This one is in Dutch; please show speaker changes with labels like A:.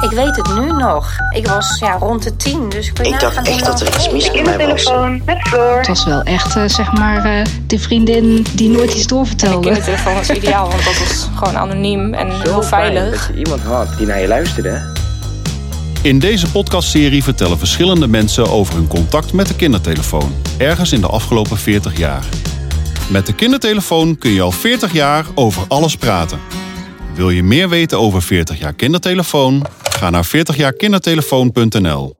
A: Ik weet het nu nog. Ik was ja, rond de tien, dus ik ben
B: Ik dacht
A: nagaan
B: echt
A: hoe
B: dat
A: lang-
B: er iets mis met
C: In de
B: mij was.
C: telefoon met Floor.
D: Het was wel echt, eh, zeg maar, eh, de vriendin die nooit iets
E: De
D: doorvertelde.
E: kindertelefoon was ideaal, want dat was gewoon anoniem en heel
F: fijn
E: veilig.
F: Dat je iemand had die naar je luisterde.
G: In deze podcastserie vertellen verschillende mensen over hun contact met de kindertelefoon, ergens in de afgelopen 40 jaar. Met de kindertelefoon kun je al 40 jaar over alles praten. Wil je meer weten over 40 jaar kindertelefoon? Ga naar 40jaarkindertelefoon.nl.